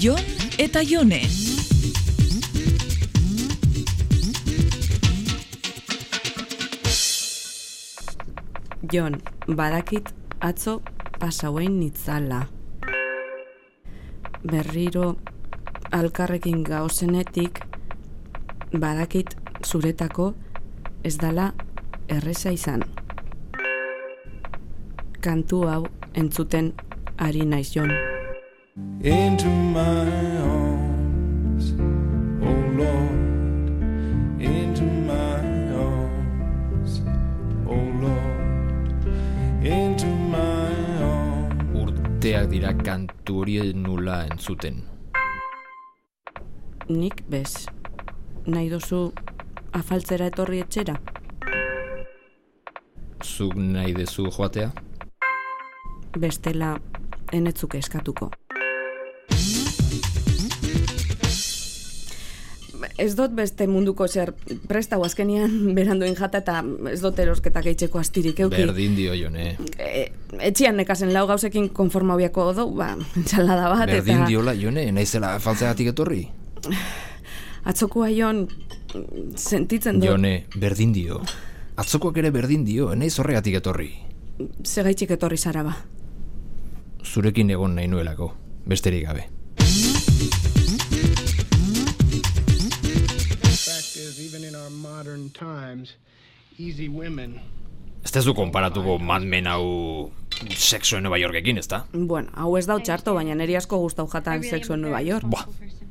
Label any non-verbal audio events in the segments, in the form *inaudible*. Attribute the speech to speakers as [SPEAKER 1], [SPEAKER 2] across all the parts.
[SPEAKER 1] Jon eta Jone.
[SPEAKER 2] Jon, badakit atzo pasauein nitzala. Berriro alkarrekin gauzenetik badakit zuretako ez dala erresa izan. Kantu hau entzuten ari naiz Jon.
[SPEAKER 3] into my arms, oh Lord, into my arms, oh Lord, into my arms.
[SPEAKER 4] urteak dira kantu hori nula entzuten.
[SPEAKER 2] Nik bez. Nahi duzu afaltzera etorri etxera?
[SPEAKER 4] Zuk nahi dezu joatea?
[SPEAKER 2] Bestela enetzuk eskatuko. Ez dut beste munduko zer prestau *laughs* azkenian beranduen jata eta ez dut erosketak eitzeko astirik euki.
[SPEAKER 4] Berdin dio jone.
[SPEAKER 2] E, etxian nekazen lau gauzekin konformabiako odo, ba, *laughs* ensalada bat
[SPEAKER 4] Berdin
[SPEAKER 2] eta...
[SPEAKER 4] diola jone, naizela faltzeagatik etorri?
[SPEAKER 2] Atzoko aion sentitzen dut
[SPEAKER 4] Jone, berdin dio. Atzokoak ere berdin dio, naiz horregatik etorri.
[SPEAKER 2] segaitxik etorri zara ba.
[SPEAKER 4] Zurekin egon nahi nuelako, besterik gabe.
[SPEAKER 5] fact is, even in our modern times, easy women
[SPEAKER 4] Ez tezu konparatuko madmen hau sexo en Nueva Yorkekin, ezta?
[SPEAKER 2] Bueno, hau ez dau txarto, baina neri asko gustau jatan sexu en Nueva York.
[SPEAKER 4] Ba,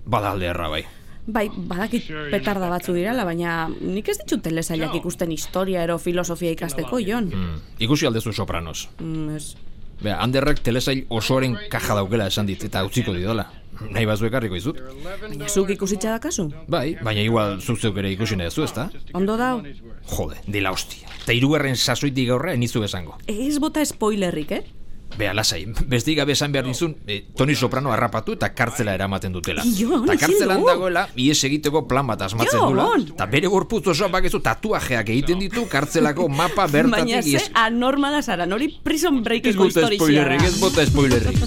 [SPEAKER 4] bada alde erra bai.
[SPEAKER 2] Bai, badakit petarda batzu dirala, baina nik ez ditut telesailak ikusten historia ero filosofia ikasteko, Jon.
[SPEAKER 4] Mm, ikusi aldezu sopranos.
[SPEAKER 2] Mm, ez.
[SPEAKER 4] Bea, handerrak telesail osoaren kaja daukela esan dit, eta utziko didala. Nahi bazu ekarriko izut?
[SPEAKER 2] Baina zuk ikusitza dakazu?
[SPEAKER 4] Bai, baina igual zuk zeuk ere ikusi nahi duzu, ezta?
[SPEAKER 2] Ondo dau?
[SPEAKER 4] Jode, dila hostia. Eta hirugarren sasoitik aurrera enizu esango.
[SPEAKER 2] Ez bota spoilerrik, eh?
[SPEAKER 4] Bea, lasai, bestik gabe esan behar dizun, eh, Toni Soprano harrapatu eta
[SPEAKER 2] Bai.
[SPEAKER 4] kartzela eramaten dutela.
[SPEAKER 2] Jon,
[SPEAKER 4] Eta kartzelan
[SPEAKER 2] ezin du.
[SPEAKER 4] dagoela, ies egiteko plan bat asmatzen
[SPEAKER 2] Jon!
[SPEAKER 4] dula. Eta bere gorputz osoa bakizu tatuajeak egiten ditu kartzelako
[SPEAKER 2] *laughs*
[SPEAKER 4] mapa
[SPEAKER 2] Baina
[SPEAKER 4] bertatik
[SPEAKER 2] ze
[SPEAKER 4] ies.
[SPEAKER 2] anormala zara, nori prison
[SPEAKER 4] Ez
[SPEAKER 2] breakeko
[SPEAKER 4] bota
[SPEAKER 2] historia.
[SPEAKER 4] spoilerrik, ez bota
[SPEAKER 2] *laughs*
[SPEAKER 4] spoilerrik.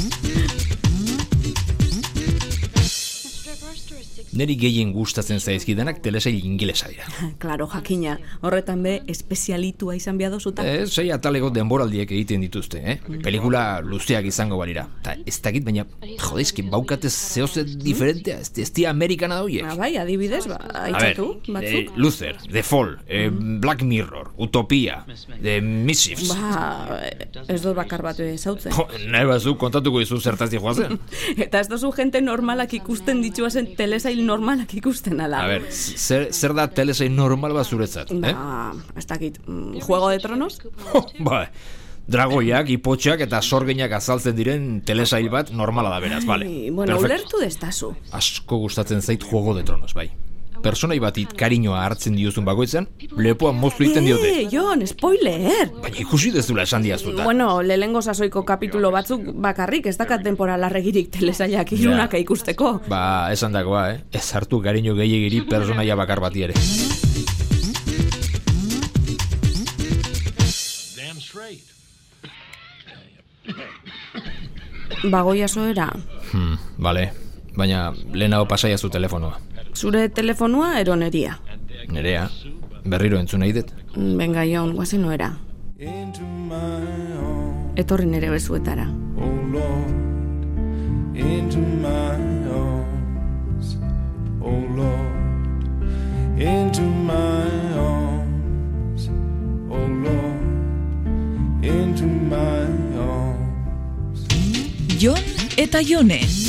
[SPEAKER 4] Neri gehien gustatzen zaizkidanak telesail ingelesa dira.
[SPEAKER 2] Ah, Claro, jakina, horretan be, espezialitua izan behar dozuta.
[SPEAKER 4] Eh, sei ataleko denboraldiek egiten dituzte, eh? Pelikula luzeak izango balira. Ta ez dakit, baina, jode, eski baukate zehoze diferentea, ez, ez dira amerikana da
[SPEAKER 2] Ba,
[SPEAKER 4] horiek.
[SPEAKER 2] bai, adibidez, ba,
[SPEAKER 4] A ver,
[SPEAKER 2] aitzatu,
[SPEAKER 4] eh,
[SPEAKER 2] batzuk. Mm-hmm.
[SPEAKER 4] Luther, The Fall, eh, Black Mirror, Utopia, The Mischiefs.
[SPEAKER 2] Ba, ez dut bakar bat eh, ezautzen.
[SPEAKER 4] Jo, nahi bazu kontatuko izu zertaz
[SPEAKER 2] *laughs*
[SPEAKER 4] joazen.
[SPEAKER 2] Eta ez dozu jente normalak ikusten dituazen telesail normalak ikusten ala.
[SPEAKER 4] A ber, zer, zer da telesail normal bat zuretzat, eh?
[SPEAKER 2] Ba, ez dakit, mm, Juego de Tronos?
[SPEAKER 4] *laughs* Jo, ba, dragoiak, ipotxak eta sorginak azaltzen diren telesail bat normala da beraz, bale.
[SPEAKER 2] Ai, bueno,
[SPEAKER 4] Perfecto.
[SPEAKER 2] ulertu destazu.
[SPEAKER 4] Asko gustatzen zait Juego de Tronos, bai. Personai bati karinoa hartzen diozun bakoitzan, lepoa moztu egiten diote.
[SPEAKER 2] Eh, Jon, spoiler!
[SPEAKER 4] Baina ikusi dezula esan diazuta.
[SPEAKER 2] Bueno, lehengo sasoiko kapitulo batzuk bakarrik, ez dakat denpora larregirik telesailak ilunaka ikusteko.
[SPEAKER 4] Ba, esan dagoa, eh? Ez hartu garino gehiagiri personaia bakar bati ere.
[SPEAKER 5] damn straight.
[SPEAKER 2] Bagoia soera,
[SPEAKER 4] Hmm, bale. Baina lehenago pasaia zu telefonoa.
[SPEAKER 2] zure telefonua eroneria.
[SPEAKER 4] Nerea, berriro entzun nahi dut.
[SPEAKER 2] Benga, Jon, guazen noera.
[SPEAKER 3] Into my arms,
[SPEAKER 2] Etorri nere bezuetara.
[SPEAKER 3] oh Lord, into my arms, oh Lord, into my arms, oh Lord, into my arms.
[SPEAKER 1] Jon eta Jone.